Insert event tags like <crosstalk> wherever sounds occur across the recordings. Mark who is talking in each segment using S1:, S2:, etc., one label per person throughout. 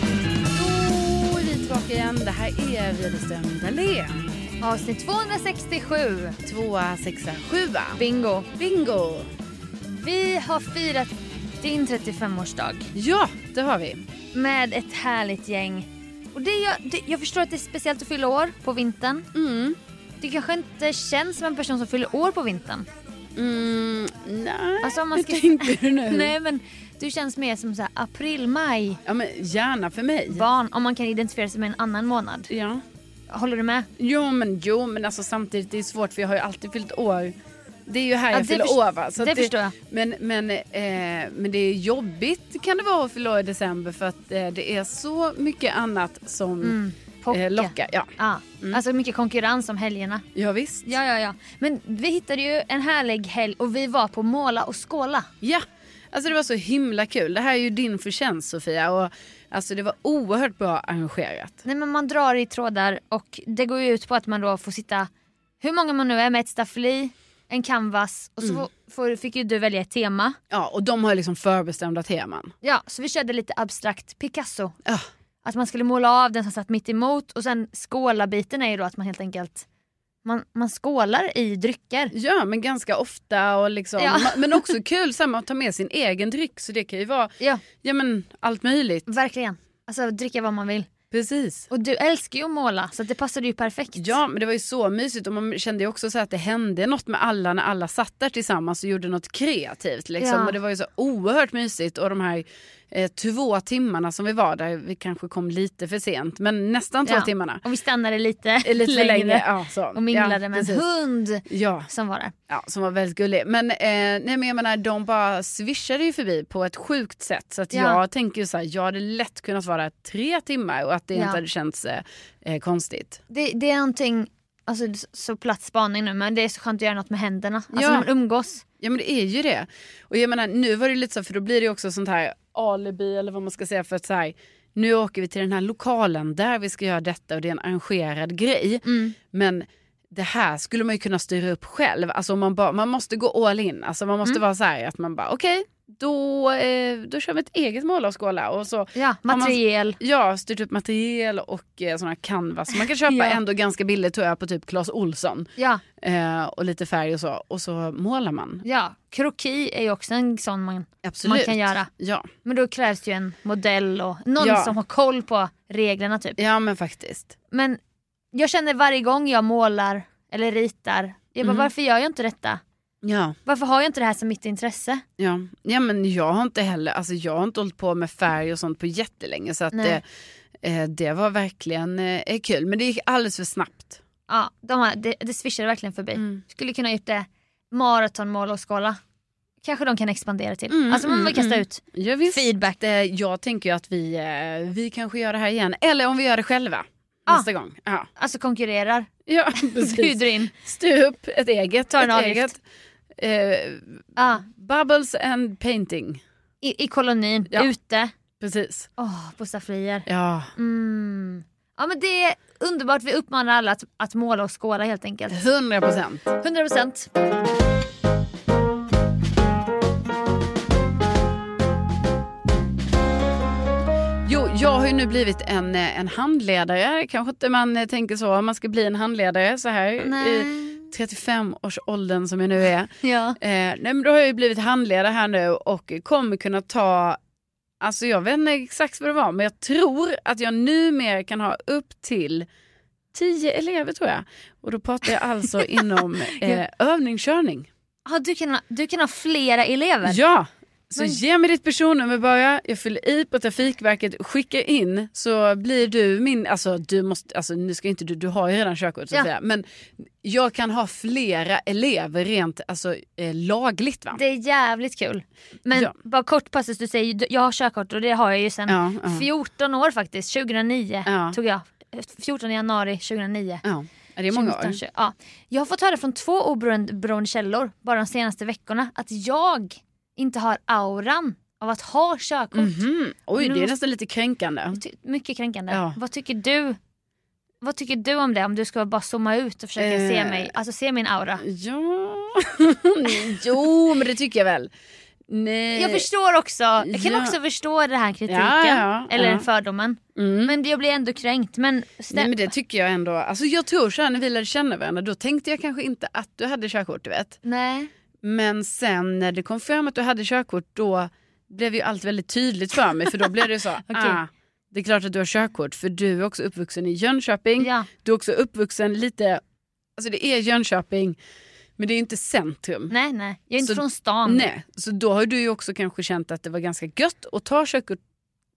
S1: Då är vi tillbaka igen. Det här är Widerström Dahlén.
S2: Avsnitt 267.
S1: Tvåa, sexa, sjua.
S2: Bingo.
S1: Bingo!
S2: Vi har firat din 35-årsdag
S1: Ja, det har vi.
S2: med ett härligt gäng. Och det, jag, det, jag förstår att det är speciellt att fylla år på vintern.
S1: Mm.
S2: Du kanske inte känns som en person som fyller år på vintern.
S1: Mm, nej,
S2: Alltså, om man ska-
S1: hur tänkte du nu?
S2: <laughs> Nej men du känns mer som så här april, maj,
S1: Ja, men gärna för mig.
S2: barn om man kan identifiera sig med en annan månad.
S1: Ja.
S2: Håller du med?
S1: Jo, men, jo, men alltså, samtidigt det är svårt för jag har ju alltid fyllt år. Det är ju här
S2: Ja,
S1: jag
S2: det
S1: fyller
S2: förs-
S1: år. Va? Så
S2: det
S1: att
S2: förstår jag.
S1: Men, men, eh, men det är jobbigt kan det vara att fylla år i december för att eh, det är så mycket annat som
S2: Pocka.
S1: eh, lockar. Ja,
S2: Ja. Alltså mycket konkurrens om helgerna.
S1: Mm. ja visst.
S2: Ja, ja, ja. Men vi hittade ju en härlig helg och vi var på Måla och Skåla.
S1: Ja, alltså det var så himla kul. Det här är ju din förtjänst Sofia och alltså det var oerhört bra arrangerat.
S2: Nej men man drar i trådar och det går ju ut på att man då får sitta, hur många man nu är, med ett staffli, en canvas och så
S1: Mm.
S2: får, får, fick ju du välja ett tema.
S1: Ja, och de har liksom förbestämda teman.
S2: Ja, så vi körde lite abstrakt Picasso.
S1: Ja.
S2: Att man skulle måla av den som satt mitt emot och sen skåla-biten är ju då att man helt enkelt, man, man skålar i drycker.
S1: Ja, men ganska ofta och liksom,
S2: Ja.
S1: ma- men också kul samma att ta med sin egen dryck så det kan ju vara,
S2: Ja,
S1: ja men allt möjligt.
S2: verkligen. Alltså dricka vad man vill.
S1: Precis.
S2: Och du älskar ju att måla så att det passade ju perfekt.
S1: Ja men det var ju så mysigt och man kände ju också så här att det hände något med alla när alla satt där tillsammans och gjorde något kreativt. Liksom.
S2: Ja.
S1: Och det var ju så oerhört mysigt och de här eh, två timmarna som vi var där, vi kanske kom lite för sent men nästan två
S2: Ja.
S1: timmarna.
S2: Och vi stannade lite, <laughs>
S1: Eh, Lite för länge. Ja, så.
S2: och minglade
S1: ja,
S2: med en
S1: precis.
S2: hund
S1: Ja,
S2: som var där.
S1: ja, som var väldigt gullig. Men, eh, nej, men jag menar, de bara swishade ju förbi på ett sjukt sätt. Så att
S2: Ja.
S1: jag tänker ju så här, jag hade lätt kunnat vara där tre timmar och att det
S2: Ja.
S1: inte hade känts eh, eh, konstigt.
S2: Det, det är någonting, alltså så platt spaning nu men det är så skönt att göra något med händerna. Alltså
S1: Ja.
S2: när man umgås.
S1: Ja men det är ju det. Och jag menar nu var det lite så för då blir det ju också sånt här alibi eller vad man ska säga för att så här, nu åker vi till den här lokalen där vi ska göra detta och det är en arrangerad grej. Men det här skulle man ju kunna styra upp själv. Alltså man, bara, man måste gå all in. Alltså man måste vara så här att man bara okej, då, eh, då kör vi ett eget mål av skåla. Och så
S2: Ja,
S1: man-
S2: materiel.
S1: Ja, styrt upp material och eh, såna här canvas. Man kan köpa
S2: Ja.
S1: ändå ganska billigt tror jag på typ Clas Olsson.
S2: Ja,
S1: Eh, och lite färg och så. Och så målar man.
S2: ja. Kroki är ju också en sån man,
S1: Absolut.
S2: man kan göra.
S1: Ja,
S2: Men då krävs ju en modell och någon
S1: Ja.
S2: som har koll på reglerna typ.
S1: ja men faktiskt.
S2: Men jag känner varje gång jag målar eller ritar, jag bara
S1: Mm.
S2: varför gör jag inte detta?
S1: Ja.
S2: Varför har jag inte det här som mitt intresse?
S1: Ja. ja, men jag har inte heller, alltså jag har inte hållit på med färg och sånt på jättelänge så att
S2: Nej.
S1: det, eh, det var verkligen eh, kul. Men det gick alldeles för snabbt.
S2: Ja, de har, det, det swishade verkligen förbi.
S1: Mm.
S2: Skulle kunna gjort det maratonmål och skala. Kanske de kan expandera till.
S1: Mm,
S2: alltså man
S1: mm,
S2: vill kasta
S1: mm.
S2: ut
S1: Ja, visst.
S2: feedback.
S1: Eh, jag tänker ju att vi, eh, vi kanske gör det här igen, eller om vi gör det själva
S2: Ja.
S1: nästa gång. Ja.
S2: Alltså konkurrerar.
S1: Ja, <laughs>
S2: Du
S1: precis.
S2: <laughs> bjuder in.
S1: Styr upp ett eget.
S2: Ta en
S1: ett
S2: avgift.
S1: eget. Eh,
S2: Ah,
S1: bubbles and painting.
S2: i, I kolonin,
S1: Ja.
S2: ute.
S1: Precis.
S2: Åh, på stafflier.
S1: Ja.
S2: Mm. Ja men det är underbart, vi uppmanar alla att, att måla och skåla helt enkelt.
S1: 100 procent.
S2: 100%.
S1: Jo, jag har ju nu blivit en, eh, en handledare. Kanske inte man eh, tänker så om man ska bli en handledare så här i 35-årsåldern som jag nu är.
S2: Ja.
S1: Eh, nej men då har jag ju blivit handledare här nu och kommer kunna ta, alltså jag vet inte exakt vad det var, men jag tror att jag numera kan ha upp till 10 elever tror jag. Och då pratar jag alltså inom eh, övningskörning.
S2: Ah, du, kan ha, du kan ha flera elever.
S1: Ja, så
S2: Men-
S1: ge mig ditt personnummer bara, jag fyller i på Trafikverket, skicka in så blir du min, alltså du måste, alltså nu ska inte du, du har ju redan körkort så att
S2: Ja.
S1: säga, men jag kan ha flera elever rent alltså eh, lagligt va?
S2: Det är jävligt kul. Men
S1: Ja.
S2: bara kort passus, du säger du- jag har körkort och det har jag ju sedan
S1: Ja, ja.
S2: 14 år faktiskt. 2009
S1: Ja.
S2: tog jag. 14 januari 2009.
S1: Ja, det är många år.
S2: 2019, Ja. Jag har fått höra från två oberoende oberoende källor bara de senaste veckorna att jag inte har auran av att ha körkort.
S1: Mhm. Oj,
S2: Nu
S1: det är
S2: måste-
S1: nästan lite kränkande.
S2: Ty- Mycket kränkande.
S1: Ja.
S2: Vad tycker du? Vad tycker du om det? Om du ska bara zooma ut och försöka se
S1: Eh.
S2: mig, alltså se min aura. <laughs>
S1: Ja, jo men det tycker jag väl. Nej.
S2: Jag förstår också, jag
S1: Eh.
S2: kan
S1: Ja.
S2: också förstå den här kritiken.
S1: Ja, ja,
S2: eller
S1: ja.
S2: fördomen.
S1: Mm.
S2: Men jag blir ändå kränkt. Men, stä-
S1: Nej men det tycker jag ändå. Alltså jag tror så här när vi lärde känna varandra då tänkte jag kanske inte att du hade körkort du vet.
S2: Nej.
S1: Men sen när det kom fram att du hade körkort då blev ju allt väldigt tydligt för mig för då blev
S2: <laughs>
S1: det så. ah, det är klart att du har körkort för du är också uppvuxen i Jönköping.
S2: Ja.
S1: Du är också uppvuxen lite, alltså det är Jönköping men det är ju inte centrum.
S2: nej, nej. Jag är inte
S1: Så-
S2: från stan.
S1: Nej, så då har du ju också kanske känt att det var ganska gött att ta körkort,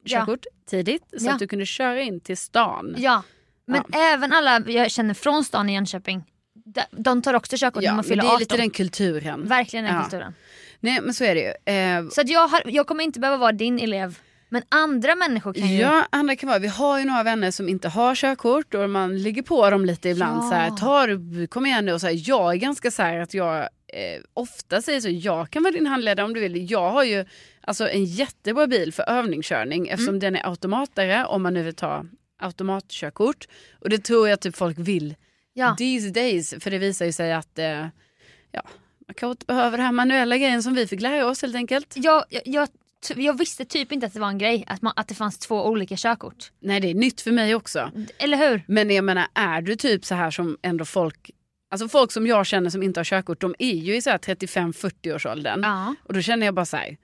S2: Ja.
S1: körkort tidigt så
S2: Ja.
S1: att du kunde köra in till stan.
S2: Ja. Men även alla jag känner från stan i Jönköping, de, de tar också körkort när man
S1: men det
S2: fyller
S1: är
S2: 18.
S1: lite den kulturen.
S2: Verkligen den
S1: Ja.
S2: kulturen.
S1: Nej men så är det ju. Eh,
S2: Så att jag, har, jag kommer inte behöva vara din elev. Men andra människor kan ju...
S1: Ja, andra kan vara. Vi har ju några vänner som inte har körkort och man ligger på dem lite ibland.
S2: Ja.
S1: Så här, tar, du- kom igen nu. Och så här, jag är ganska så här att jag eh, ofta säger så, jag kan vara din handledare om du vill. Jag har ju alltså, en jättebra bil för övningskörning
S2: Mm.
S1: eftersom den är automatare om man nu vill ta automatkörkort. Och det tror jag typ folk vill
S2: Ja.
S1: these days. För det visar ju sig att eh, ja, man kanske inte behöver den här manuella grejen som vi fick lära oss helt enkelt.
S2: Jag, jag, jag, t- jag visste typ inte att det var en grej, att, man, att det fanns två olika körkort.
S1: Nej, det är nytt för mig också.
S2: Eller hur?
S1: Men jag menar, är du typ så här som ändå folk, alltså folk som jag känner som inte har körkort, de är ju i så här 35-40 årsåldern.
S2: Ja.
S1: Och då känner jag bara så här,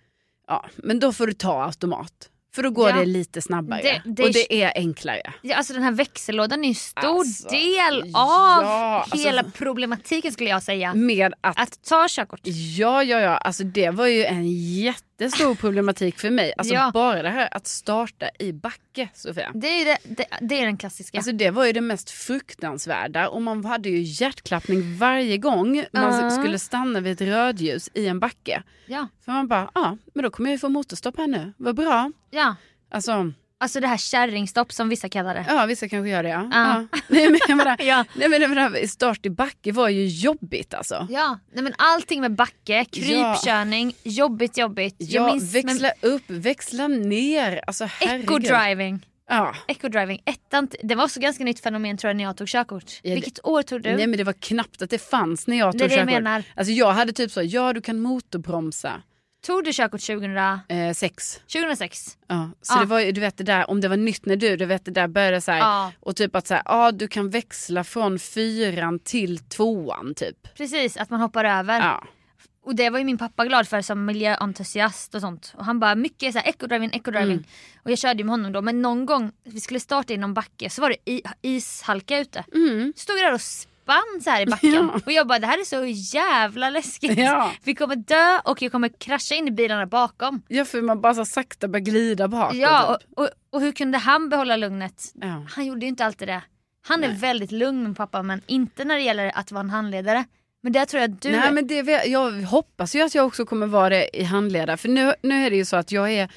S1: ja, men då får du ta automat. För då går
S2: Ja.
S1: det lite snabbare
S2: Det- det-
S1: och det är enklare.
S2: Ja, Alltså den här växellådan är ju en stor
S1: Alltså,
S2: del av
S1: ja, alltså-
S2: hela problematiken skulle jag säga.
S1: Med att,
S2: Att ta körkort.
S1: ja, ja, ja, alltså det var ju en
S2: <laughs>
S1: jättestor problematik för mig. Alltså
S2: Ja.
S1: bara det här att starta i backe, Sofia.
S2: Det är, ju det, det, det är den klassiska.
S1: Alltså det var ju det mest fruktansvärda och man hade ju hjärtklappning varje gång man
S2: Ja.
S1: skulle stanna vid ett rödljus i en backe.
S2: ja,
S1: För man bara, ja, men då kommer jag ju få motorstopp här nu. Vad bra.
S2: ja.
S1: Alltså,
S2: Alltså det här kärringstopp som vissa kallar det.
S1: ja vissa kanske gör det ja.
S2: Ja.
S1: ja. <laughs> Nej, men jag menar,
S2: <laughs> Ja.
S1: nej men jag menar, start i backe var ju jobbigt alltså.
S2: Ja, nej men allting med backe, krypkörning, jobbigt jobbigt. Jag
S1: Ja,
S2: minns-
S1: växla upp, växla ner. Alltså
S2: men,
S1: herregud.
S2: eco-driving.
S1: Ja.
S2: Eco-driving, ettan, t- det var också ganska nytt fenomen tror jag när jag tog körkort.
S1: Ja, det-
S2: Vilket år tog du?
S1: Nej men det var knappt att det fanns när jag
S2: Det är
S1: tog
S2: det jag
S1: körkort.
S2: menar.
S1: Alltså jag hade typ så, ja du kan motorbromsa
S2: Tog du körkort 2000,
S1: eh, sex.
S2: 2006?
S1: Ja, så
S2: Ja.
S1: det var ju, du vet det där, om det var nytt när du, du vet det där började så här,
S2: Ja.
S1: och typ att så här, ja du kan växla från fyran till tvåan typ.
S2: Precis, att man hoppar över.
S1: Ja. <laughs>
S2: Och det var ju min pappa glad för som miljöentusiast och sånt. Och han bara mycket såhär eco-driving, eco-driving.
S1: Mm.
S2: Och jag körde ju med honom då men någon gång vi skulle starta i någon backe så var det i, ishalka ute.
S1: Mm.
S2: Stod jag där och spann så här
S1: <laughs>
S2: i backen. Och jag bara det här är så jävla läskigt.
S1: Ja.
S2: Vi kommer dö och jag kommer krascha in i bilarna bakom.
S1: Ja för man bara så sakta börjar glida bakåt.
S2: Ja,
S1: typ.
S2: och, och, och hur kunde han behålla lugnet?
S1: ja.
S2: Han gjorde ju inte alltid det. Han är väldigt lugn min pappa men inte när det gäller att vara en handledare. Men där tror jag att du
S1: Nej men det, vet- jag hoppas ju att jag också kommer vara det i handledare. För nu, nu är det ju så att jag är,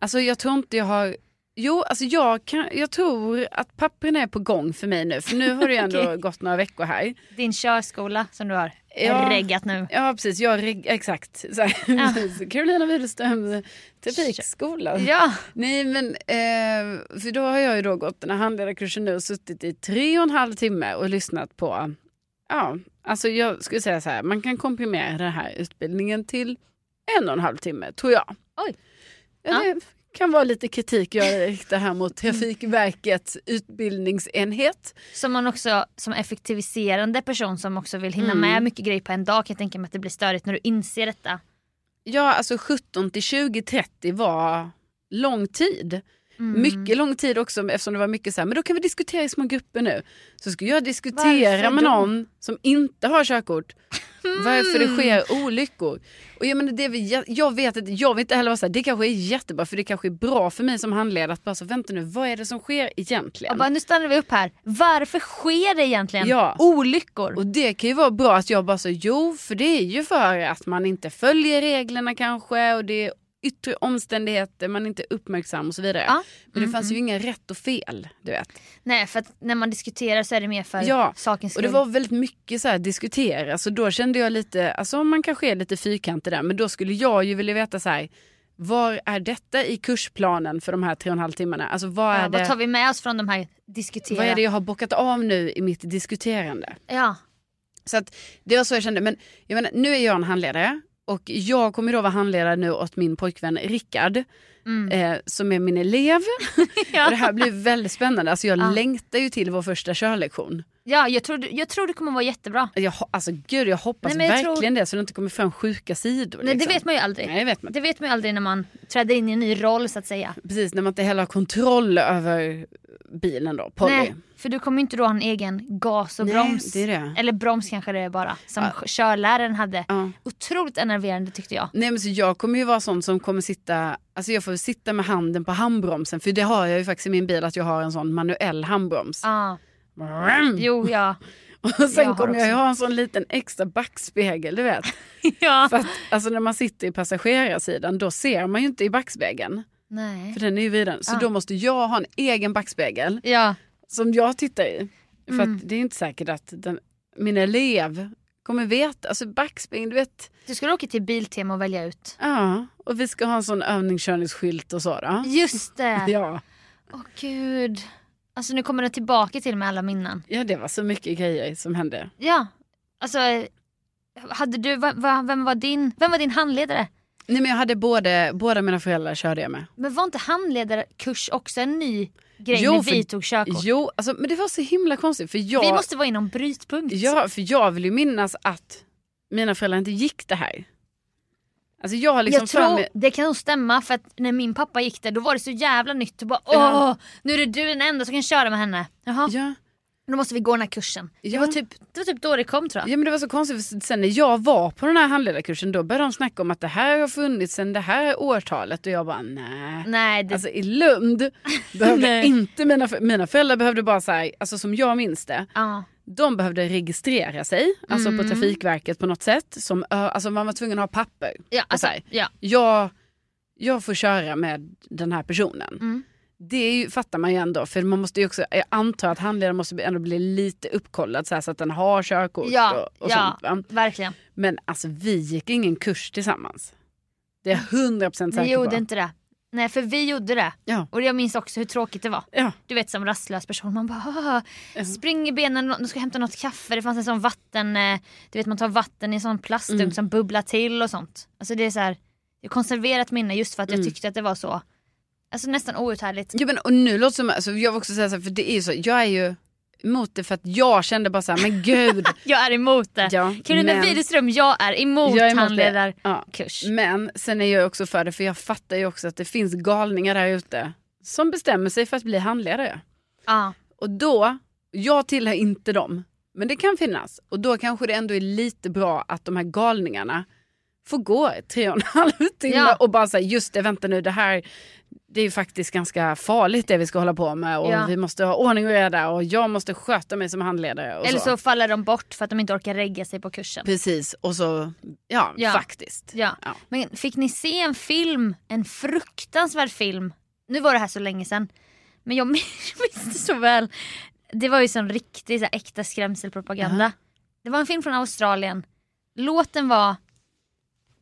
S1: alltså jag tror inte jag har Jo, alltså jag, kan, jag tror att papperna är på gång för mig nu. För nu har det
S2: <laughs>
S1: ju ändå
S2: Okej. Mm.
S1: gått några veckor här.
S2: Din körskola som du har
S1: Ja.
S2: reggat nu.
S1: Ja, precis. Jag, reg- exakt. <laughs> Så här,
S2: Ja.
S1: precis. Carolina Widerström, Trafikskolan.
S2: Ja,
S1: <laughs> Nej, men eh, för då har jag ju då gått den här handledarkursen nu och suttit i tre och en halv timme och lyssnat på, ja, alltså jag skulle säga så här, man kan komprimera den här utbildningen till en och en halv timme, tror jag.
S2: Oj.
S1: Ja. Det kan vara lite kritik jag riktar här mot Trafikverkets utbildningsenhet.
S2: som man också som effektiviserande person som också vill
S1: Mm.
S2: hinna med mycket grejer på en dag kan jag tänka mig att det blir störigt när du inser detta.
S1: Ja, alltså 17 till 20, 30 var lång tid.
S2: Mm.
S1: Mycket lång tid också eftersom det var mycket så här, men då kan vi diskutera i små grupper nu. Så skulle jag diskutera
S2: Varför
S1: med
S2: då?
S1: någon som inte har körkort
S2: <laughs>
S1: varför det sker olyckor. Och jag, menar, det vi, jag, vet att, jag vill inte heller vara så här, det kanske är jättebra för det kanske är bra för mig som handledare att bara så, vänta nu, vad är det som sker
S2: Och
S1: egentligen?
S2: bara, nu stannar vi upp här. Varför sker det egentligen
S1: Ja.
S2: olyckor?
S1: Och det kan ju vara bra att jag bara så, jo för det är ju för att man inte följer reglerna kanske och det är yttre omständigheter, man är inte uppmärksam och så vidare.
S2: Ja. Mm,
S1: Men det fanns ju inga rätt och fel, du vet.
S2: Nej för att när man diskuterar så är det mer för
S1: Ja,
S2: sakens
S1: och
S2: skull.
S1: det var väldigt mycket så här diskutera, så då kände jag lite, alltså man kanske är lite fyrkantig där, men då skulle jag ju vilja veta så här, var är detta i kursplanen för de här tre och en halv timmarna? Alltså vad är
S2: ja,
S1: det,
S2: Eh, vad tar vi med oss från de här diskutera?
S1: vad är det jag har bockat av nu i mitt diskuterande? <laughs>
S2: Ja.
S1: Så att det var så jag kände. Men jag menar, nu är jag en handledare och jag kommer då vara handledare nu åt min pojkvän Rickard
S2: Mm.
S1: eh, som är min elev. och det här blir
S2: <laughs>
S1: väldigt spännande. Alltså jag längtar ju till vår första körlektion.
S2: Ja, jag tror, du- jag tror det kommer vara jättebra.
S1: Jag, ho- alltså gud jag hoppas
S2: Nej, men jag tror-
S1: verkligen det så det inte kommer fram sjuka sidor.
S2: Nej, det
S1: liksom.
S2: vet man ju aldrig.
S1: Nej, det vet man inte.
S2: Det vet man ju aldrig när man träder in i en ny roll så att säga.
S1: Precis, när man inte heller har kontroll över bilen då, Polly.
S2: Nej, för du kommer ju inte då ha en egen gas och
S1: Nej,
S2: broms.
S1: det är det.
S2: Eller broms kanske det är bara, som körläraren hade.
S1: Ja.
S2: Otroligt enerverande tyckte jag.
S1: Nej men så jag kommer ju vara sån som kommer sitta, alltså jag får sitta med handen på handbromsen för det har jag ju faktiskt i min bil att jag har en sån manuell handbroms.
S2: Ja, jo ja.
S1: <laughs> Och sen
S2: Jag har
S1: kommer jag ju
S2: också.
S1: ha en sån liten extra backspegel, du vet.
S2: ja. <laughs>
S1: För att alltså, när man sitter i passagerarsidan då ser man ju inte i backspegeln.
S2: Nej.
S1: För den är ju vid den. Så
S2: Ah.
S1: då måste jag ha en egen backspegel
S2: Ja.
S1: som jag tittar i. För
S2: Mm.
S1: att det är inte säkert att den, min elev kommer veta. Alltså backspegeln, du vet.
S2: Du skulle åka till Biltema och välja ut.
S1: Ja, och vi ska ha en sån övningskörningsskylt och så då.
S2: Just det!
S1: Ja.
S2: Åh gud. Alltså nu kommer det tillbaka till med alla minnen.
S1: ja, det var så mycket grejer som hände.
S2: Ja. Alltså, eh, hade du, va, va, vem, var din, vem var din handledare?
S1: Nej men jag hade både, båda mina föräldrar körde jag med.
S2: Men var inte handledarkurs också en ny grej
S1: Jo,
S2: när
S1: för-
S2: vi tog körkort?
S1: Jo, alltså, men det var så himla konstigt för jag...
S2: Vi måste vara i någon brytpunkt.
S1: Ja, för jag vill ju minnas att mina föräldrar inte gick det här. Alltså jag har liksom
S2: jag
S1: för
S2: tror
S1: mig-
S2: det kan nog stämma för att när min pappa gick där då var det så jävla nytt och bara
S1: Ja.
S2: åh nu är det du den enda som kan köra med henne. Jaha,
S1: Ja,
S2: då måste vi gå den här kursen.
S1: Ja.
S2: Det, var typ, det var typ då det kom tror jag.
S1: ja men det var så konstigt för sen när jag var på den här handledarkursen då började de snacka om att det här har funnits sedan det här årtalet och jag bara nej.
S2: Nej, Mm, det,
S1: Alltså i
S2: <laughs>
S1: Lund behövde
S2: Nej.
S1: inte mina, för- mina föräldrar behövde bara så här, alltså som jag minns det,
S2: ja.
S1: de behövde registrera sig, alltså
S2: Mm.
S1: på Trafikverket på något sätt. Som, ö- alltså man var tvungen att ha papper.
S2: Ja,
S1: Och så
S2: alltså,
S1: här,
S2: ja.
S1: jag, jag får köra med den här personen.
S2: Mm.
S1: Det är ju, fattar man ju ändå, för man måste ju också, jag antar att handledaren måste ändå bli lite uppkollad så, här, så att den har körkort
S2: Ja,
S1: och, och
S2: ja
S1: sånt. Va?
S2: verkligen.
S1: Men alltså vi gick ingen kurs tillsammans. Det är jag 100%
S2: Vi
S1: säker
S2: gjorde
S1: på.
S2: inte det. Nej för vi gjorde det.
S1: Ja.
S2: Och jag minns också hur tråkigt det var.
S1: Ja.
S2: Du vet som rastlös person, man bara "Haha." spring i benen, du ska hämta något kaffe, det fanns en sån vatten, eh, du vet man tar vatten i en sån plastdunk
S1: Mm.
S2: som bubblar till och sånt. Alltså det är så här, jag har konserverat minne just för att
S1: Mm.
S2: jag tyckte att det var så, alltså nästan outhärdligt.
S1: Ja, men, och nu låter det som, alltså, jag vill också säga så här, för det är ju så, jag är ju emot det för att jag kände bara så här, men
S2: <laughs>
S1: gud.
S2: Jag är emot det.
S1: Ja,
S2: Carolina
S1: men-
S2: Widerström, jag är emot,
S1: Jag är emot det. Mm.
S2: handledarkurs.
S1: Men sen är jag också för det, för jag fattar ju också att det finns galningar där ute som bestämmer sig för att bli handledare.
S2: Ja.
S1: Och då, jag tillhör inte dem, men det kan finnas. Och då kanske det ändå är lite bra att de här galningarna får gå i tre och en <laughs> halv timme
S2: Ja.
S1: och bara säga just det, vänta nu, det här det är ju faktiskt ganska farligt det vi ska hålla på med och
S2: Ja.
S1: vi måste ha ordning och reda och jag måste sköta mig som handledare. Och
S2: Eller så faller de bort för att de inte orkar regga sig på kursen.
S1: Precis, och så, ja,
S2: Ja.
S1: faktiskt.
S2: Ja.
S1: Ja.
S2: Men fick ni se en film, en fruktansvärd film nu var det här så länge sedan, men jag <laughs> minns det så väl. Det var ju sån riktig så här, äkta skrämselpropaganda. Det var en film från Australien, låten var,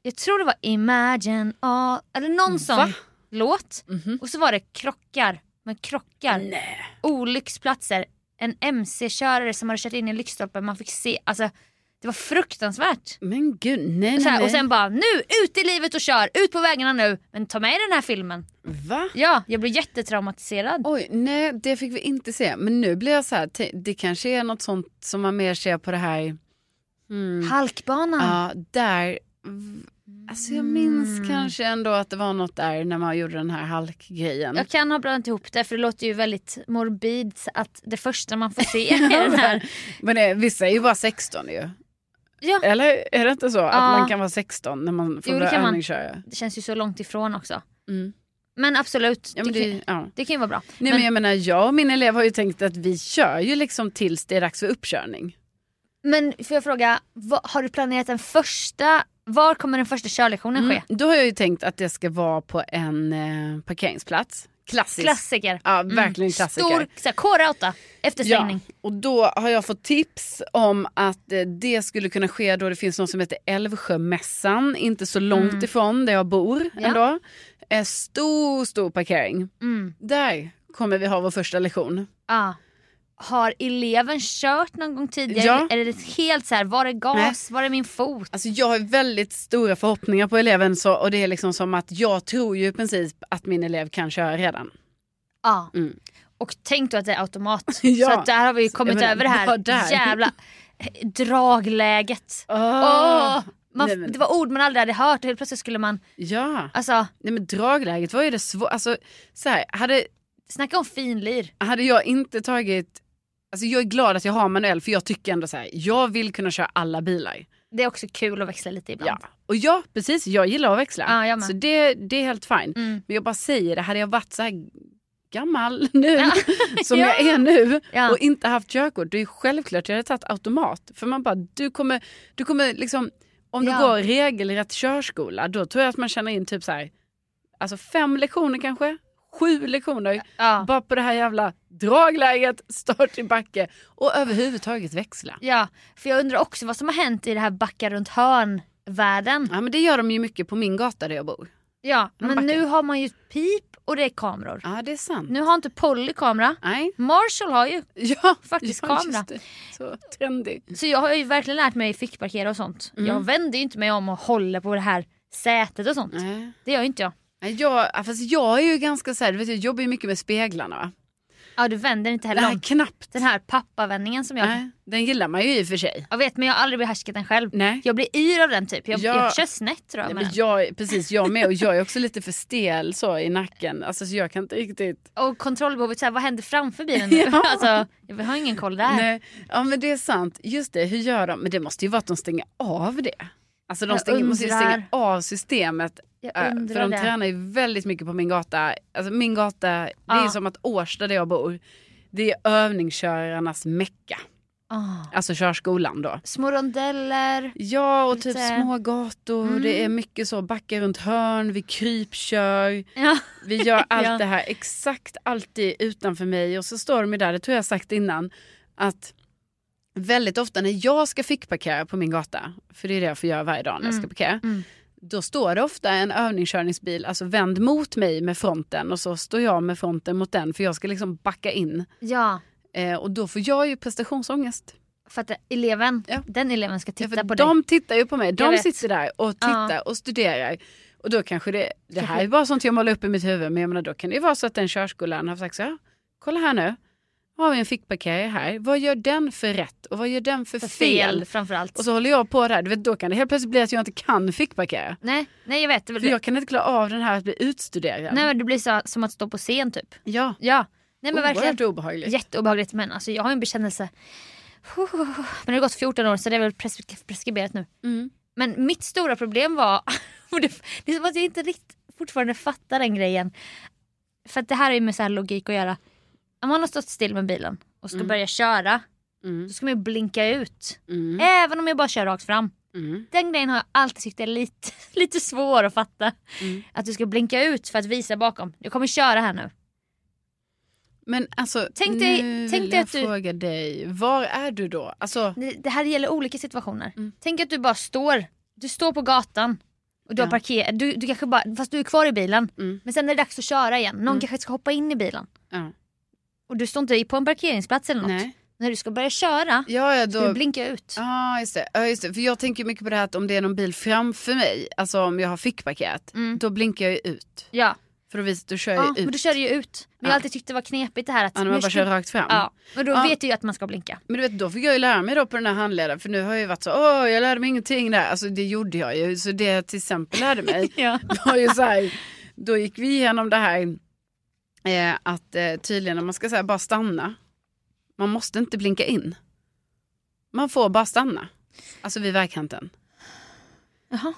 S2: jag tror det var Imagine all, eller någon
S1: Va?
S2: sån låt. Och så var det krockar, men krockar, olycksplatser, en MC-körare som hade kört in i en lyktstolpe, man fick se, alltså det var fruktansvärt.
S1: Men gud, nej nej.
S2: Så här,
S1: nej.
S2: och sen bara nu, ut i livet och kör, ut på vägarna nu, men ta med den här filmen.
S1: Va?
S2: Ja, jag blev jättetraumatiserad.
S1: Oj, nej det fick vi inte se. Men nu blir jag så här, te- det kanske är något sånt som man mer ser på det här, Hmm.
S2: Halkbanan.
S1: ja där, v- alltså jag minns
S2: Hmm.
S1: kanske ändå att det var något där när man gjorde den här halkgrejen. <laughs>
S2: Jag kan ha blandat ihop det för det låter ju väldigt morbid att det första man får
S1: <laughs>
S2: se är den här.
S1: Men det, vissa är ju bara 16 ju.
S2: Ja,
S1: Eller är det inte så att
S2: Ja.
S1: man kan vara 16 när man får
S2: Jo, det
S1: börja
S2: kan man.
S1: övningsköra?
S2: det känns ju så långt ifrån också.
S1: Mm.
S2: Men absolut,
S1: Ja, men
S2: det, kan,
S1: det, ja.
S2: det kan ju vara bra.
S1: Nej, men,
S2: Men-
S1: jag menar, jag och min elev har ju tänkt att vi kör ju liksom tills det är dags för uppkörning.
S2: Men får jag fråga, vad, har du planerat den första, var kommer den första körlektionen ske?
S1: Mm. Då har jag ju tänkt att det ska vara på en eh, parkeringsplats. Klassiskt.
S2: Klassiker.
S1: Ja, verkligen klassiker.
S2: Mm. Stor så här, K-rauta, eftersvängning.
S1: Ja, och då har jag fått tips om att eh, det skulle kunna ske då det finns något som heter Älvsjömässan, inte så långt ifrån där jag bor
S2: Mm. Ja.
S1: ändå. Eh, Stor, stor parkering.
S2: Mm.
S1: Där kommer vi ha vår första lektion.
S2: Ja. Har eleven kört någon gång tidigare?
S1: Ja.
S2: Är det helt så här, var är gas, var är min fot?
S1: Alltså jag har väldigt stora förhoppningar på eleven så, och det är liksom som att jag tror ju i princip att min elev kan köra redan.
S2: Ja.
S1: Mm.
S2: Ah. Och tänk då att det
S1: <laughs>
S2: är automat.
S1: Ja.
S2: Så att där har vi ju kommit
S1: Jag menar,
S2: över det här
S1: bara där.
S2: jävla eh, dragläget. Åh, man,
S1: Nej, men-
S2: Det var ord man aldrig hade hört och helt plötsligt skulle man,
S1: Ja,
S2: alltså
S1: Nej, men dragläget var ju det svåra. Alltså, så här, hade,
S2: snacka om finlir.
S1: hade jag inte tagit... Alltså jag är glad att jag har manuell för jag tycker ändå så här, jag vill kunna köra alla bilar.
S2: Det är också kul att växla lite ibland.
S1: Och ja, precis, jag gillar att växla.
S2: Ja, jag med.
S1: så det, det är helt fine.
S2: Mm.
S1: Men jag bara säger det, hade jag varit så här gammal <laughs> nu,
S2: Ja.
S1: som
S2: Ja.
S1: jag är nu,
S2: Ja.
S1: och inte haft körkort, det är självklart jag hade tagit automat. För man bara, du kommer, du kommer liksom, om du
S2: Ja.
S1: går regelrätt körskola, då tror jag att man känner in typ så här, alltså fem lektioner kanske, sju lektioner,
S2: Ja.
S1: bara på det här jävla dragläget, start i backe och överhuvudtaget växla.
S2: Ja, för jag undrar också vad som har hänt i det här backa runt hörn-världen.
S1: Ja men det gör de ju mycket på min gata där jag bor.
S2: Ja,
S1: Man
S2: men
S1: backar.
S2: nu har man ju pip och det är kameror.
S1: Ja det är sant.
S2: Nu har inte Polly kamera.
S1: Nej.
S2: Marshall har ju.
S1: <laughs> Ja,
S2: Faktiskt
S1: ja,
S2: kamera.
S1: just det. Så trendig.
S2: Så jag har ju verkligen lärt mig fickparkera och sånt.
S1: Mm.
S2: Jag vänder ju inte mig om och håller på det här sätet och sånt.
S1: Nej.
S2: Det gör ju inte jag.
S1: Nej, Jag, ja, fast jag är ju ganska så här, du vet, jag jobbar ju mycket med speglarna. Va?
S2: Ja, du vänder inte heller
S1: Nej,
S2: om.
S1: knappt.
S2: Den här pappavändningen som jag...
S1: Nej, den gillar man ju i och för sig.
S2: Jag vet, men jag har aldrig behärskat den själv.
S1: Nej.
S2: Jag blir yr av den typ. Jag,
S1: Ja.
S2: jag kör snett tror jag.
S1: Nej,
S2: med
S1: men
S2: den.
S1: jag, precis, jag med. Och jag är också lite för stel så i nacken. Alltså, så jag kan inte riktigt...
S2: Och kontrollbehovet, så här, vad händer framför bilen nu?
S1: <laughs> Ja.
S2: alltså, jag har ingen koll där.
S1: Nej. Ja, men det är sant. Just det, hur gör de? Men det måste ju vara att de stänger av det. Alltså de
S2: Jag
S1: stänger, måste ju
S2: undrar.
S1: stänga av systemet.
S2: Jag
S1: eh,
S2: undrar
S1: För de
S2: det.
S1: tränar ju väldigt mycket på min gata. Alltså min gata, det är
S2: Ja.
S1: ju som att Årsta där jag bor, det är övningskörarnas mecka.
S2: Ah.
S1: Alltså körskolan då.
S2: Små rondeller.
S1: Ja, och typ
S2: Lite- Mm.
S1: små gator. Det är mycket så, backa runt hörn, vi krypkör.
S2: Ja.
S1: Vi
S2: <laughs>
S1: gör allt
S2: Ja.
S1: det här exakt alltid utanför mig. Och så står de ju där, det tror jag sagt innan, att väldigt ofta när jag ska fickparkera på min gata, för det är det jag får göra varje dag när
S2: Mm.
S1: jag ska parkera, då står det ofta en övningskörningsbil alltså vänd mot mig med fronten och så står jag med fronten mot den för jag ska liksom backa in.
S2: ja.
S1: Eh, och då får jag ju prestationsångest.
S2: För att eleven,
S1: Ja.
S2: den eleven ska
S1: Ja,
S2: titta
S1: för
S2: på dig.
S1: de tittar ju på mig.
S2: Jag
S1: De
S2: vet.
S1: sitter där och tittar och studerar. Och då kanske det, det här är bara sånt jag målar upp i mitt huvud, men jag menar, då kan det ju vara så att den körskolan har sagt så här, kolla här nu, har vi en fickparkerare här, vad gör den för rätt och vad gör den för,
S2: För
S1: fel?
S2: fel framförallt.
S1: Och så håller jag på där, du vet, då kan det helt plötsligt bli att jag inte kan fickparkera.
S2: Nej, nej jag vet. Det,
S1: För jag kan inte klara av den här att bli utstuderad.
S2: nej, men det blir så, som att stå på scen typ.
S1: Ja,
S2: Ja. Nej men verkligen.
S1: oerhört obehagligt.
S2: Jätteobehagligt men alltså, jag har en bekännelse. Huh. Men det har gått 14 år så det är väl pres- preskriberat nu.
S1: Mm.
S2: Men mitt stora problem var, <laughs> och det, det är som att jag inte riktigt fortfarande fattar den grejen. För att det här är ju med så här logik att göra. Om man har stått still med bilen och ska börja köra,
S1: Mm.
S2: då ska man ju blinka ut.
S1: Mm.
S2: Eh. Även om jag bara kör rakt fram.
S1: Mm.
S2: Den grejen har jag alltid tyckt är lite, <laughs> lite svår att fatta.
S1: Mm.
S2: Att du ska blinka ut för att visa bakom. Jag kommer köra här nu.
S1: Men alltså,
S2: Tänk dig-
S1: nu
S2: tänk
S1: vill
S2: dig
S1: jag
S2: att du-
S1: fråga dig, var är du då? Alltså,
S2: Det, det här gäller olika situationer.
S1: Mm.
S2: Tänk att du bara står. Du står på gatan. Och du har
S1: Ja.
S2: parkerat. Du, du kanske bara, fast du är kvar i bilen.
S1: Mm.
S2: Men sen är det dags att köra igen. Någon
S1: Mm.
S2: kanske ska hoppa in i bilen.
S1: ja.
S2: Och du står inte på en parkeringsplats eller något.
S1: nej.
S2: När du ska börja köra
S1: Ja, ja, då...
S2: ska du blinka ut.
S1: Ja, just det. Ja, just det. För jag tänker mycket på det här att om det är någon bil framför mig, alltså om jag har fickparkerat,
S2: Mm.
S1: då blinkar jag ju ut.
S2: Ja,
S1: För då visar då kör jag
S2: ja
S1: ju ut.
S2: men då kör du ju ut. Men jag
S1: Ja.
S2: har alltid tyckt det var knepigt det här att...
S1: ja, när
S2: nu
S1: man bara
S2: ska-
S1: kör rakt fram.
S2: Ja, men då
S1: Ja.
S2: vet du ju att man
S1: <laughs>
S2: ska blinka.
S1: Men du vet, då fick jag ju lära mig då på den här handledaren, för nu har jag ju varit så, åh, jag lärde mig ingenting där. Alltså det gjorde jag ju, så det jag till exempel lärde
S2: <laughs>
S1: mig
S2: Ja.
S1: var ju så här, då gick vi igenom det här eh, att eh, tydligen om man ska säga bara stanna, man måste inte blinka in. Man får bara stanna, alltså vid vägkanten.
S2: Jaha.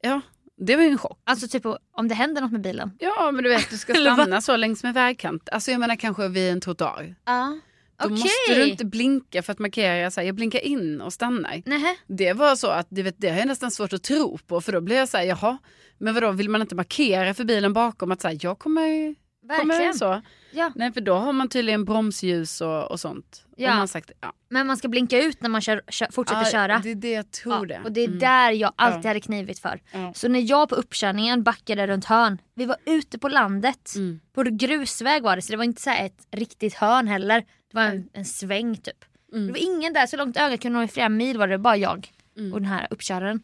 S1: Ja, det var ju en chock.
S2: Alltså typ om det händer något med bilen.
S1: Ja, men du vet, du ska
S2: <laughs> Eller vad?
S1: stanna så längs med vägkant. Alltså jag menar kanske vid en trottoar.
S2: Ja.
S1: Då
S2: Okej.
S1: måste du inte blinka för att markera så här, jag blinkar in och stannar.
S2: Nähä.
S1: Det var så att du vet, det har jag nästan svårt att tro på för då blir jag så här, jaha, men vadå, vill man inte markera för bilen bakom att så här, jag kommer, kommer
S2: Verkligen.
S1: så?
S2: Ja.
S1: Nej, för då har man tydligen bromsljus och, och sånt.
S2: Ja.
S1: Och man har sagt, ja.
S2: Men man ska blinka ut när man kör, kör, fortsätter
S1: Ja,
S2: köra.
S1: Det är det jag tror det. Mm.
S2: Ja, och det är där jag alltid
S1: Ja.
S2: hade knivit för.
S1: Ja.
S2: Så när jag på uppkörningen backade runt hörn. Vi var ute på landet.
S1: Mm.
S2: På grusväg var det så det var inte så här ett riktigt hörn heller. Det var
S1: Mm.
S2: en, en sväng typ. Det var ingen där så långt ögat kunde nå i flera mil var det bara jag
S1: Mm.
S2: och den här uppköraren.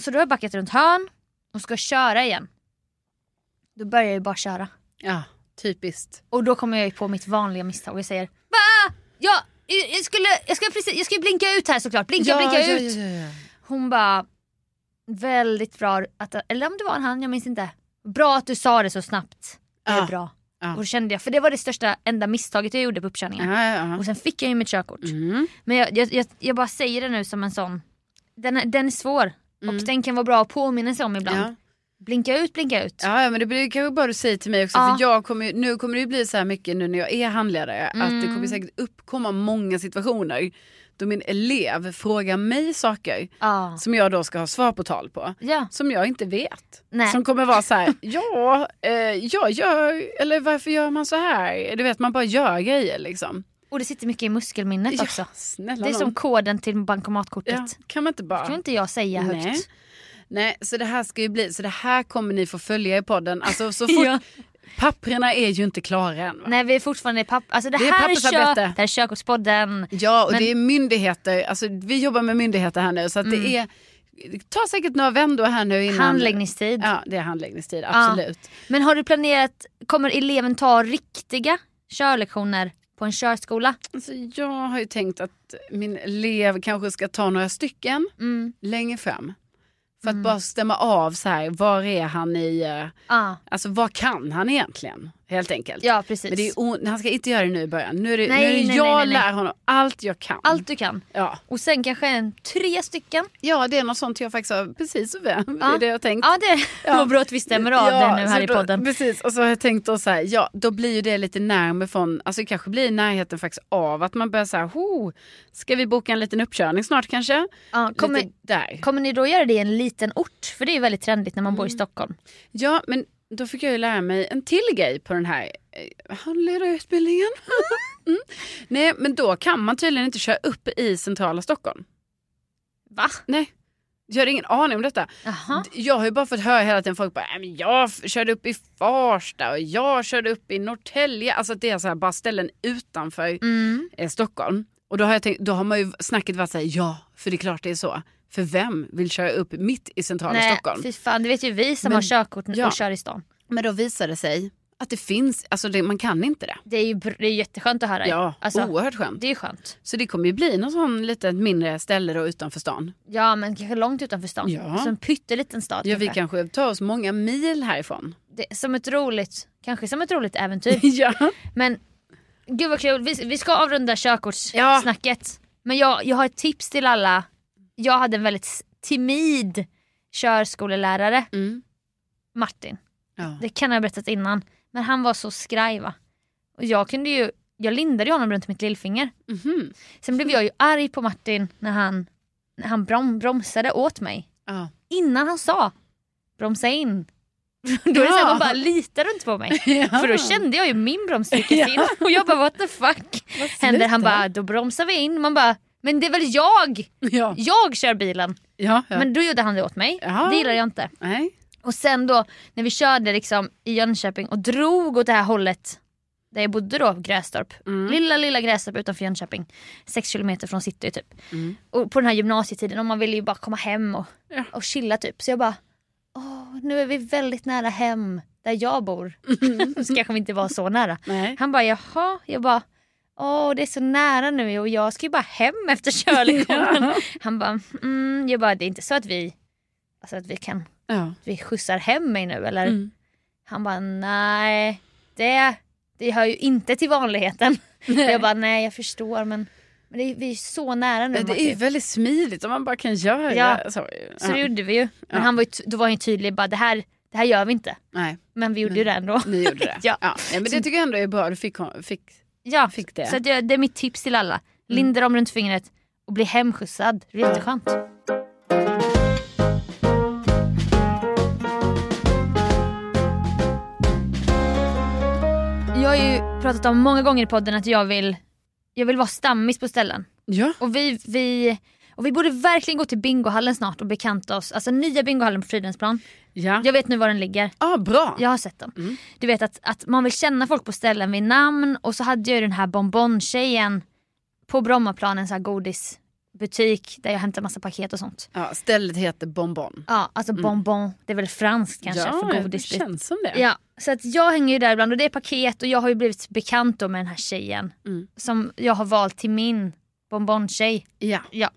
S2: Så då har jag backat runt hörn och ska köra igen. Då börjar jag ju bara köra.
S1: ja, typiskt.
S2: Och då kommer jag ju på mitt vanliga misstag och säger Va? Ja, jag, jag skulle jag ska precis, jag ska ju blinka ut här såklart. Blinka,
S1: ja,
S2: blinka
S1: ja,
S2: ut.
S1: Ja, ja, ja.
S2: Hon bara, väldigt bra att, eller om det var en han, jag minns inte. Bra att du sa det så snabbt. Det är
S1: Ja.
S2: bra.
S1: Ja.
S2: Och då kände jag, för det var det största enda misstaget jag gjorde på uppkörningen.
S1: Ja, ja, ja.
S2: Och sen fick jag ju mitt körkort.
S1: Mm.
S2: Men jag, jag, jag, jag bara säger det nu som en sån, den, är- den är svår. Och den kan vara bra att påminna sig om ibland.
S1: Mm. Ja.
S2: Blinka ut, blinka ut.
S1: Ja, ja, men det blir kanske bara du säger till mig också.
S2: Ja.
S1: För jag kommer, ju- nu kommer det ju bli så här mycket nu när jag är handledare. Att det
S2: Mm.
S1: kommer säkert uppkomma många situationer då min elev frågar mig saker
S2: Ja.
S1: som jag då ska ha svar på tal på.
S2: Ja.
S1: Som jag inte vet.
S2: Nej.
S1: Som kommer vara så här, <laughs> ja, eh, jag gör, eller varför gör man så här? Du vet, man bara gör grejer liksom.
S2: Och det sitter mycket i muskelminnet
S1: Ja,
S2: också.
S1: snälla
S2: Det är som
S1: nån.
S2: koden till bankomatkortet.
S1: ja, kan man inte
S2: Det kan
S1: bara...
S2: inte jag säga högt.
S1: Nej. Nej, så det här ska ju bli, så det här kommer ni få följa i podden. Alltså
S2: <laughs>
S1: så fort,
S2: Ja.
S1: papperna är ju inte klara än. Va?
S2: Nej vi är fortfarande i papp... Alltså det,
S1: Det är
S2: här är kö...
S1: pappersarbete.
S2: det här är körkortspodden.
S1: Ja, och
S2: Men-
S1: det är myndigheter. Alltså, vi jobbar med myndigheter här nu. Så att det är, det tar säkert några vändor här nu innan.
S2: Mm. Handläggningstid.
S1: Ja, det är handläggningstid. Absolut.
S2: Men har du planerat, kommer eleven ta riktiga körlektioner på en körskola?
S1: Alltså, jag har ju tänkt att min elev kanske ska ta några stycken
S2: Mm.
S1: längre fram. För att bara stämma av så här, var är han i, eh,
S2: Ja,
S1: alltså vad kan han egentligen? Helt enkelt.
S2: ja precis.
S1: Men det är o- han ska inte göra det nu i början. Nu är det,
S2: Nej,
S1: nu är det
S2: nej, nej,
S1: jag
S2: nej, nej.
S1: lär honom allt jag kan.
S2: Allt du kan.
S1: Ja.
S2: Och sen kanske en, tre stycken.
S1: ja, det är något sånt jag faktiskt har, precis så väl. Det
S2: Ja.
S1: är det jag har tänkt.
S2: Ja det <laughs> var bra att vi stämmer av
S1: Mm. Ja,
S2: det nu
S1: så
S2: här i
S1: då,
S2: podden.
S1: Precis, och så har jag tänkt då så här, ja då blir ju det lite närmare från, alltså det kanske blir i närheten faktiskt av att man börjar så här, ho, ska vi boka en liten uppkörning snart kanske?
S2: Ja, kommer,
S1: Lite där.
S2: kommer ni då göra det i en liten ort? För det är ju väldigt trendigt när man
S1: Mm.
S2: bor i Stockholm.
S1: Ja, men då fick jag ju lära mig en till grej på den här eh, handledarutbildningen.
S2: <laughs>
S1: mm. Nej, men då kan man tydligen inte köra upp i centrala Stockholm.
S2: Va?
S1: Nej, jag har ingen aning om detta.
S2: Jaha.
S1: D- Jag har ju bara fått höra hela tiden folk bara, "Nej, men jag f- körde upp i Farsta och jag körde upp i Norrtälje. Alltså att det är så här, bara ställen utanför
S2: Mm.
S1: eh, Stockholm. Och då har, jag tänkt, då har man ju snacket varit såhär, ja, för det är klart det är så. För vem vill köra upp mitt i centrala
S2: Nej
S1: Stockholm?
S2: fy fan det vet ju vi som
S1: Men-
S2: har körkort
S1: ja.
S2: och kör i stan.
S1: Men då visar det sig att det finns, alltså det, man kan inte det.
S2: Det är ju br- det är jätteskönt att höra.
S1: Ja,
S2: alltså,
S1: oerhört skönt.
S2: Det är ju skönt.
S1: Så det kommer ju bli någon sån litet mindre ställe då utanför stan.
S2: Ja men kanske långt utanför stan.
S1: Ja.
S2: Som en pytteliten stad.
S1: Ja, vi
S2: kanske.
S1: kanske tar oss många mil härifrån.
S2: Det, som ett roligt, kanske som ett roligt äventyr.
S1: <laughs> ja.
S2: men gud vad kul, vi, vi ska avrunda
S1: Ja.
S2: körkortssnacket. Men jag, jag har ett tips till alla. Jag hade en väldigt s- timid körskolelärare,
S1: Mm.
S2: Martin.
S1: ja.
S2: Det kan jag ha berättat innan. Men han var så skraj va. Och jag kunde ju, jag lindade ju honom runt mitt lillfinger.
S1: Mhm.
S2: Sen blev jag ju arg på Martin när han, han brom, bromsade åt mig.
S1: Ja.
S2: Innan han sa bromsa in. <laughs> Då är det så här, man bara litar du inte
S1: <laughs>
S2: på mig? För då kände jag ju min broms ryckas in och jag bara what
S1: <laughs>
S2: the fuck händer? Han bara då bromsar vi in. Man bara men det är väl jag?
S1: Ja.
S2: Jag kör bilen.
S1: Ja, ja.
S2: Men då gjorde han det åt mig.
S1: Ja.
S2: Det gillar jag inte.
S1: Nej.
S2: Och sen då när vi körde liksom i Jönköping och drog åt det här hållet där jag bodde då, Grästorp. Lilla lilla Grästorp utanför Jönköping. Sex kilometer från city typ. Och på den här gymnasietiden och man ville ju bara komma hem och, och chilla typ. Så jag bara, åh nu är vi väldigt nära hem där jag bor. <laughs> så kanske vi inte var så nära. <laughs>
S1: Nej.
S2: Han bara jaha, jag bara Åh det är så nära nu och jag ska ju bara hem
S1: <laughs>
S2: efter körlektionen. Han bara, mm. jag bara det är inte så att vi, alltså att vi kan
S1: Ja.
S2: vi skjutsar hem mig nu eller?
S1: Mm.
S2: Han bara nej, det, det hör ju inte till vanligheten. <laughs> Jag bara nej jag förstår men, men det, är- vi är ju så nära nu.
S1: Det är ju
S2: Martin."
S1: väldigt smidigt om man bara kan göra
S2: Ja.
S1: så.
S2: Så
S1: Ja.
S2: det gjorde vi ju. Men
S1: Ja.
S2: han var ju, ty- då var han ju tydlig bara det här, det här gör vi inte.
S1: Nej,
S2: Men vi gjorde ju det ändå.
S1: ni gjorde det.
S2: <laughs> ja.
S1: Ja. Nej, men det tycker jag ändå är bra. Du fick, hon- fick...
S2: ja.
S1: Fick det. Mm.
S2: Så att jag, det är mitt tips till alla. Linda dem runt fingret och bli hemskjutsad. Det är jätteskönt. Jag har ju pratat om många gånger i podden att jag vill, jag vill vara stammis på ställen.
S1: Ja.
S2: Och vi, vi, och vi borde verkligen gå till bingohallen snart och bekanta oss. Alltså nya bingohallen på Fridhemsplan.
S1: Ja.
S2: Jag vet nu var den ligger.
S1: Ah, bra.
S2: Jag har sett dem.
S1: Mm.
S2: Du vet att, att man vill känna folk på ställen vid namn och så hade jag ju den här bonbon-tjejen på Brommaplan, en sån här godisbutik där jag hämtar massa paket och sånt.
S1: Ja, stället heter Bonbon.
S2: Ja, alltså bonbon, det är väl franskt kanske för
S1: Mm. ja, det
S2: godis. typ.
S1: känns som det.
S2: Ja, så att jag hänger ju där ibland och det är paket och jag har ju blivit bekant då med den här tjejen
S1: Mm.
S2: som jag har valt till min bonbon-tjej.
S1: Ja.
S2: Ja.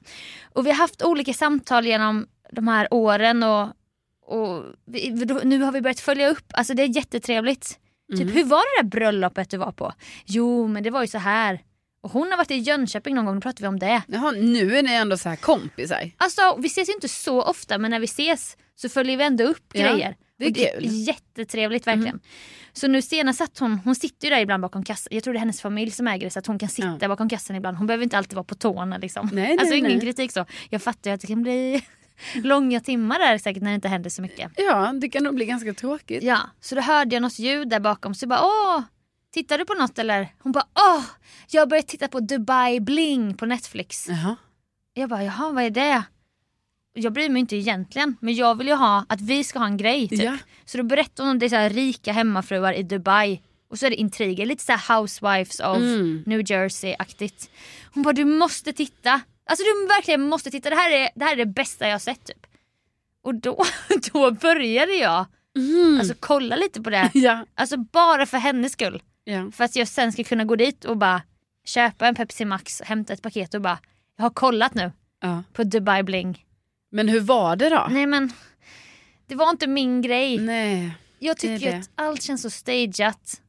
S2: Och vi har haft olika samtal genom de här åren och, och vi, nu har vi börjat följa upp. Alltså det är jättetrevligt. Typ hur var det där bröllopet du var på? Jo men det var ju så här. Och hon har varit i Jönköping någon gång, då pratade vi om det.
S1: Jaha, nu är ni ändå så här kompisar.
S2: Alltså vi ses ju inte så ofta men när vi ses så följer vi ändå upp
S1: Ja,
S2: grejer.
S1: det är
S2: Och
S1: kul. Mhm.
S2: Jättetrevligt verkligen. Så nu senast satt hon, hon sitter ju där ibland bakom kassan. Jag tror det är hennes familj som äger det så att hon kan sitta
S1: Ja.
S2: bakom kassan ibland. Hon behöver inte alltid vara på tårna liksom.
S1: Nej, nej,
S2: alltså ingen
S1: nej.
S2: kritik så. Jag fattar ju att det kan bli <laughs> långa timmar där säkert när det inte händer så mycket.
S1: Ja, det kan nog bli ganska tråkigt.
S2: Ja, så då hörde jag något ljud där bakom så jag bara åh, tittar du på något eller? Hon bara åh, jag har börjat titta på Dubai Bling på Netflix.
S1: Jaha.
S2: Jag bara jaha vad är det? Jag bryr mig inte egentligen men jag vill ju ha att vi ska ha en grej typ.
S1: Ja.
S2: Så då berättar hon om det är så här rika hemmafruar i Dubai och så är det intriger, lite så här housewives of New Jersey-aktigt. Hon bara du måste titta, alltså du verkligen måste titta, det här är det, här är det bästa jag har sett typ. Och då, <laughs> då började jag alltså kolla lite på det.
S1: <laughs> Ja.
S2: Alltså bara för hennes skull.
S1: Ja.
S2: För att jag sen ska kunna gå dit och bara köpa en Pepsi Max, hämta ett paket och bara jag har kollat nu
S1: ja.
S2: på Dubai Bling.
S1: Men hur var det då?
S2: Nej men det var inte min grej.
S1: Nej.
S2: jag
S1: det är
S2: tycker ju
S1: det. Mm.
S2: att allt känns så stageat.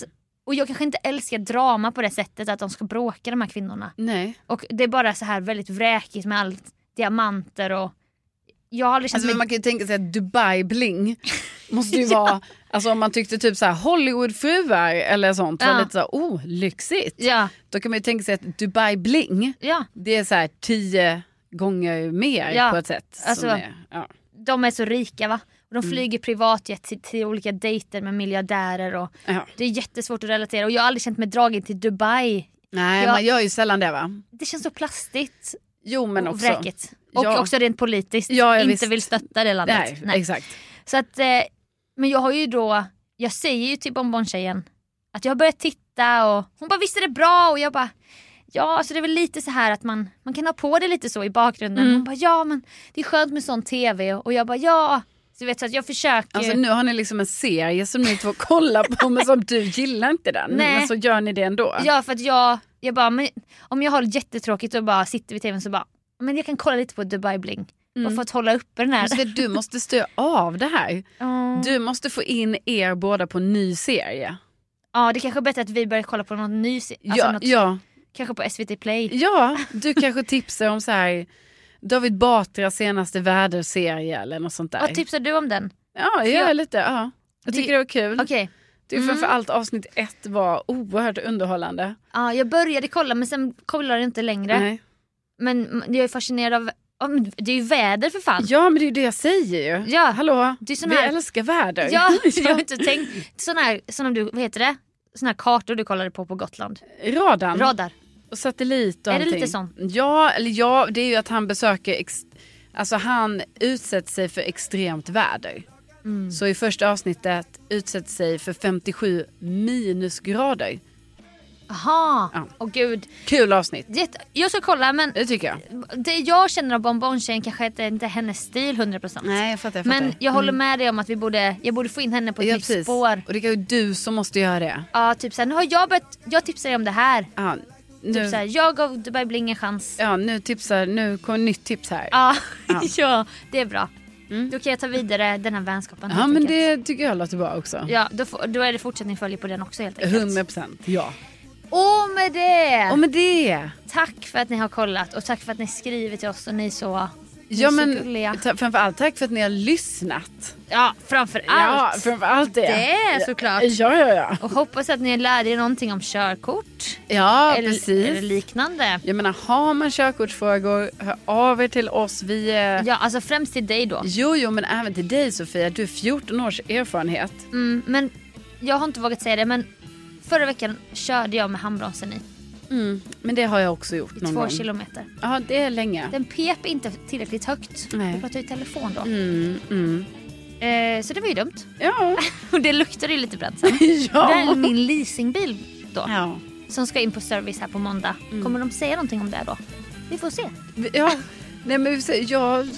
S2: Så, och jag kanske inte älskar drama på det sättet att de ska bråka de här kvinnorna.
S1: Nej.
S2: Och det är bara så här väldigt vräkigt med allt diamanter och jag har aldrig känt
S1: Alltså, men
S2: mig...
S1: man kan ju tänka sig att Dubai bling måste
S2: <laughs>
S1: ju vara, alltså om man tyckte typ så här Hollywoodfruar eller sånt var
S2: Ja.
S1: lite så här, oh lyxigt.
S2: Ja,
S1: Då kan man ju tänka sig att Dubai bling,
S2: ja,
S1: det är så här tio gånger mer
S2: Ja.
S1: på ett sätt. som
S2: Alltså-
S1: är, ja.
S2: de är så rika va. Och de
S1: Mm.
S2: flyger privatjet till, till olika dejter med miljardärer och
S1: Ja.
S2: det är jättesvårt att relatera och jag har aldrig känt mig dragen till Dubai.
S1: Nej
S2: Ja.
S1: man gör ju sällan det va?
S2: Det känns så plastigt
S1: Jo men
S2: och
S1: också.
S2: vräkigt. Och
S1: Ja.
S2: också rent politiskt
S1: Ja, ja,
S2: inte
S1: visst.
S2: vill stötta det landet.
S1: Nej,
S2: Nej.
S1: exakt.
S2: Så att, eh, men jag har ju då, jag säger ju till Bonbon-tjejen att jag har börjat titta och hon bara visst är det bra och jag bara Ja, alltså det är väl lite så här att man, man kan ha på det lite så i bakgrunden.
S1: Mm.
S2: Hon bara ja men det är skönt med sån tv och jag bara ja. Så, du vet, så att jag försöker.
S1: Alltså nu har ni liksom en serie som ni två kollar på men som du gillar inte den.
S2: <laughs> Nej.
S1: Men så gör ni det ändå.
S2: Ja för att jag, jag bara, men, om jag har jättetråkigt och bara sitter vid tvn så bara, men jag kan kolla lite på Dubai Bling. Bara för att hålla uppe den här.
S1: Så Mm. Alltså, vet, du måste stö av det här.
S2: Ja.
S1: Du måste få in er båda på en ny serie.
S2: Ja det kanske är bättre att vi börjar kolla på något ny se- alltså
S1: ja,
S2: något,
S1: ja,
S2: kanske på SVT Play.
S1: ja, du kanske tipsar om så här David Batras senaste väderserie eller något sånt där.
S2: Vad tipsar du om den?
S1: ja, gör
S2: jag-
S1: lite. Ja. Jag
S2: typ- Det-
S1: tycker det var kul.
S2: Okej, Mm.
S1: Det är framförallt avsnitt ett var oerhört underhållande.
S2: ja, jag började kolla men sen kollade jag inte längre.
S1: Nej.
S2: Men mm, jag är fascinerad av, Ja, men det är ju väder för fan.
S1: Ja men det är ju det jag säger ju.
S2: Ja.
S1: Hallå,
S2: Det är sån
S1: vi
S2: här-
S1: älskar <laughs> väder.
S2: Ja, jag har inte tänkt. Sån här, sån om du, vad heter det? Sån här kartor du kollade på på Gotland.
S1: Radarn
S2: Radar.
S1: och satellit och
S2: Är det
S1: allting.
S2: lite sån?
S1: Ja, eller ja, det är ju att han besöker, ex- alltså han utsätter sig för extremt väder.
S2: Mm.
S1: Så i första avsnittet utsätter sig för 57 minusgrader.
S2: Aha.
S1: Ja. Eh.
S2: Åh gud.
S1: Kul avsnitt,
S2: Jätte- Jag ska kolla men
S1: det tycker jag.
S2: det jag känner av Bonbon-tjejen kanske inte inte är hennes stil 100%.
S1: Nej, jag fattar, jag fattar.
S2: men jag håller med dig om att vi borde, jag borde få in henne på ett
S1: Ja,
S2: nytt
S1: precis.
S2: spår.
S1: Och det är ju du som måste göra det.
S2: Ja, typ såhär, nu har jag börjat, jag tipsar dig om det här.
S1: Ja, nu,
S2: Typ såhär, jag gav Dubai Bling en chans.
S1: ja, nu tipsar, nu kommer nytt tips här.
S2: Ja, <laughs> ja det är bra. Då kan jag ta vidare den här vänskapen.
S1: Mm. Ja
S2: helt
S1: men
S2: enkelt.
S1: det tycker jag låter bra också.
S2: Ja, då, får- då är det fortsättning följer på den också helt enkelt.
S1: 100% ja.
S2: Och med det!
S1: Och med det.
S2: Tack för att ni har kollat och tack för att ni skriver till oss och ni är så, ni
S1: Ja
S2: är så
S1: men
S2: gulliga.
S1: ta, framförallt tack för att ni har lyssnat.
S2: Ja, framför
S1: Ja
S2: allt.
S1: framförallt det.
S2: Det är såklart.
S1: Ja ja ja.
S2: Och hoppas att ni lärde er någonting om körkort.
S1: Ja
S2: eller,
S1: precis.
S2: eller liknande.
S1: jag menar har man körkortsfrågor, hör av er till oss. Vi är...
S2: Ja, alltså främst till dig då.
S1: Jo jo men även till dig Sofia, du har 14 års erfarenhet.
S2: Mm, men jag har inte vågat säga det men förra veckan körde jag med handbromsen i,
S1: Men det har jag också gjort
S2: i
S1: någon
S2: två
S1: gång.
S2: kilometer.
S1: Ja det är länge.
S2: Den pep inte tillräckligt högt.
S1: Nej.
S2: Jag pratade i telefon då.
S1: Mm, mm.
S2: Eh, så det var ju dumt. <laughs>
S1: Ja.
S2: Och det luktade ju lite bränt sen. Det här är
S1: ja.
S2: min leasingbil då.
S1: ja. Mm.
S2: Som ska in på service här på måndag. Kommer de säga någonting om det då? Vi får se.
S1: Ja, nej men vi säger- jag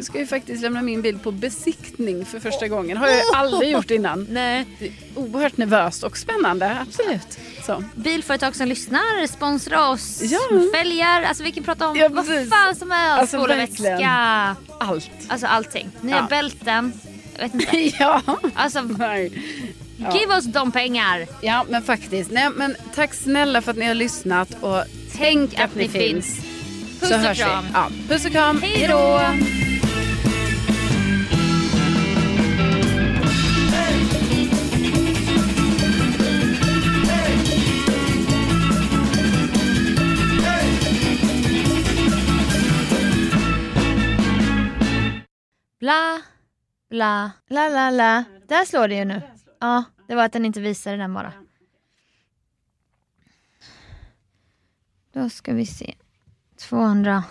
S1: ska ju faktiskt lämna min bil på besiktning för första gången. Har jag ju
S2: <laughs>
S1: aldrig gjort innan.
S2: Nej.
S1: Det är oerhört nervöst och spännande, absolut. Så.
S2: Bilföretag som lyssnar, sponsra oss,
S1: Ja.
S2: fälgar. Alltså vi kan prata om
S1: Ja,
S2: vad
S1: precis.
S2: fan som helst.
S1: Alltså,
S2: Spolarvätska.
S1: verkligen. Allt.
S2: Alltså allting. Nya
S1: Ja.
S2: bälten. Jag vet inte.
S1: <laughs> Ja.
S2: Alltså
S1: Nej.
S2: give oss de pengar.
S1: ja, men faktiskt. Nej, men tack snälla för att ni har lyssnat och tänk att ni finns.
S2: Puss
S1: Så
S2: och
S1: hörs vi.
S2: kram.
S1: Ja, puss och kram.
S2: Hej då. Bla, bla, la, la, la. Där slår det ju nu. Ja, det var att den inte visade den bara. Då ska vi se. 267.